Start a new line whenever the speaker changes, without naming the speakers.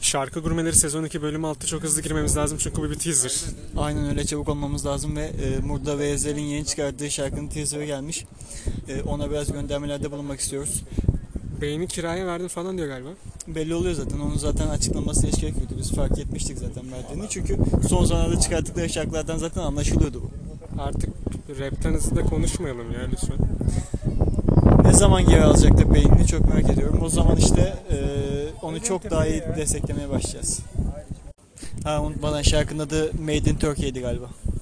Şarkı Gurmeleri sezon 2 bölüm 6 çok hızlı girmemiz lazım çünkü bu bir teaser.
Aynen öyle çabuk olmamız lazım ve e, Murda ve Ezel'in yeni çıkarttığı şarkının teaser'ı gelmiş. E, ona biraz göndermelerde bulunmak istiyoruz.
Beyni kiraya verdim falan diyor galiba.
Belli oluyor zaten. Onun zaten açıklaması hiç gerek yoktu. Biz fark etmiştik zaten verdiğini. Çünkü son zamanlarda çıkarttıkları şarkılardan zaten anlaşılıyordu bu.
Artık rapten hızlı da konuşmayalım ya lütfen.
Ne zaman geri alacaktı beynini çok merak ediyorum. O zaman işte e, onu çok daha iyi desteklemeye başlayacağız. Ha unutmadan şarkının adı Made in Turkey'di galiba.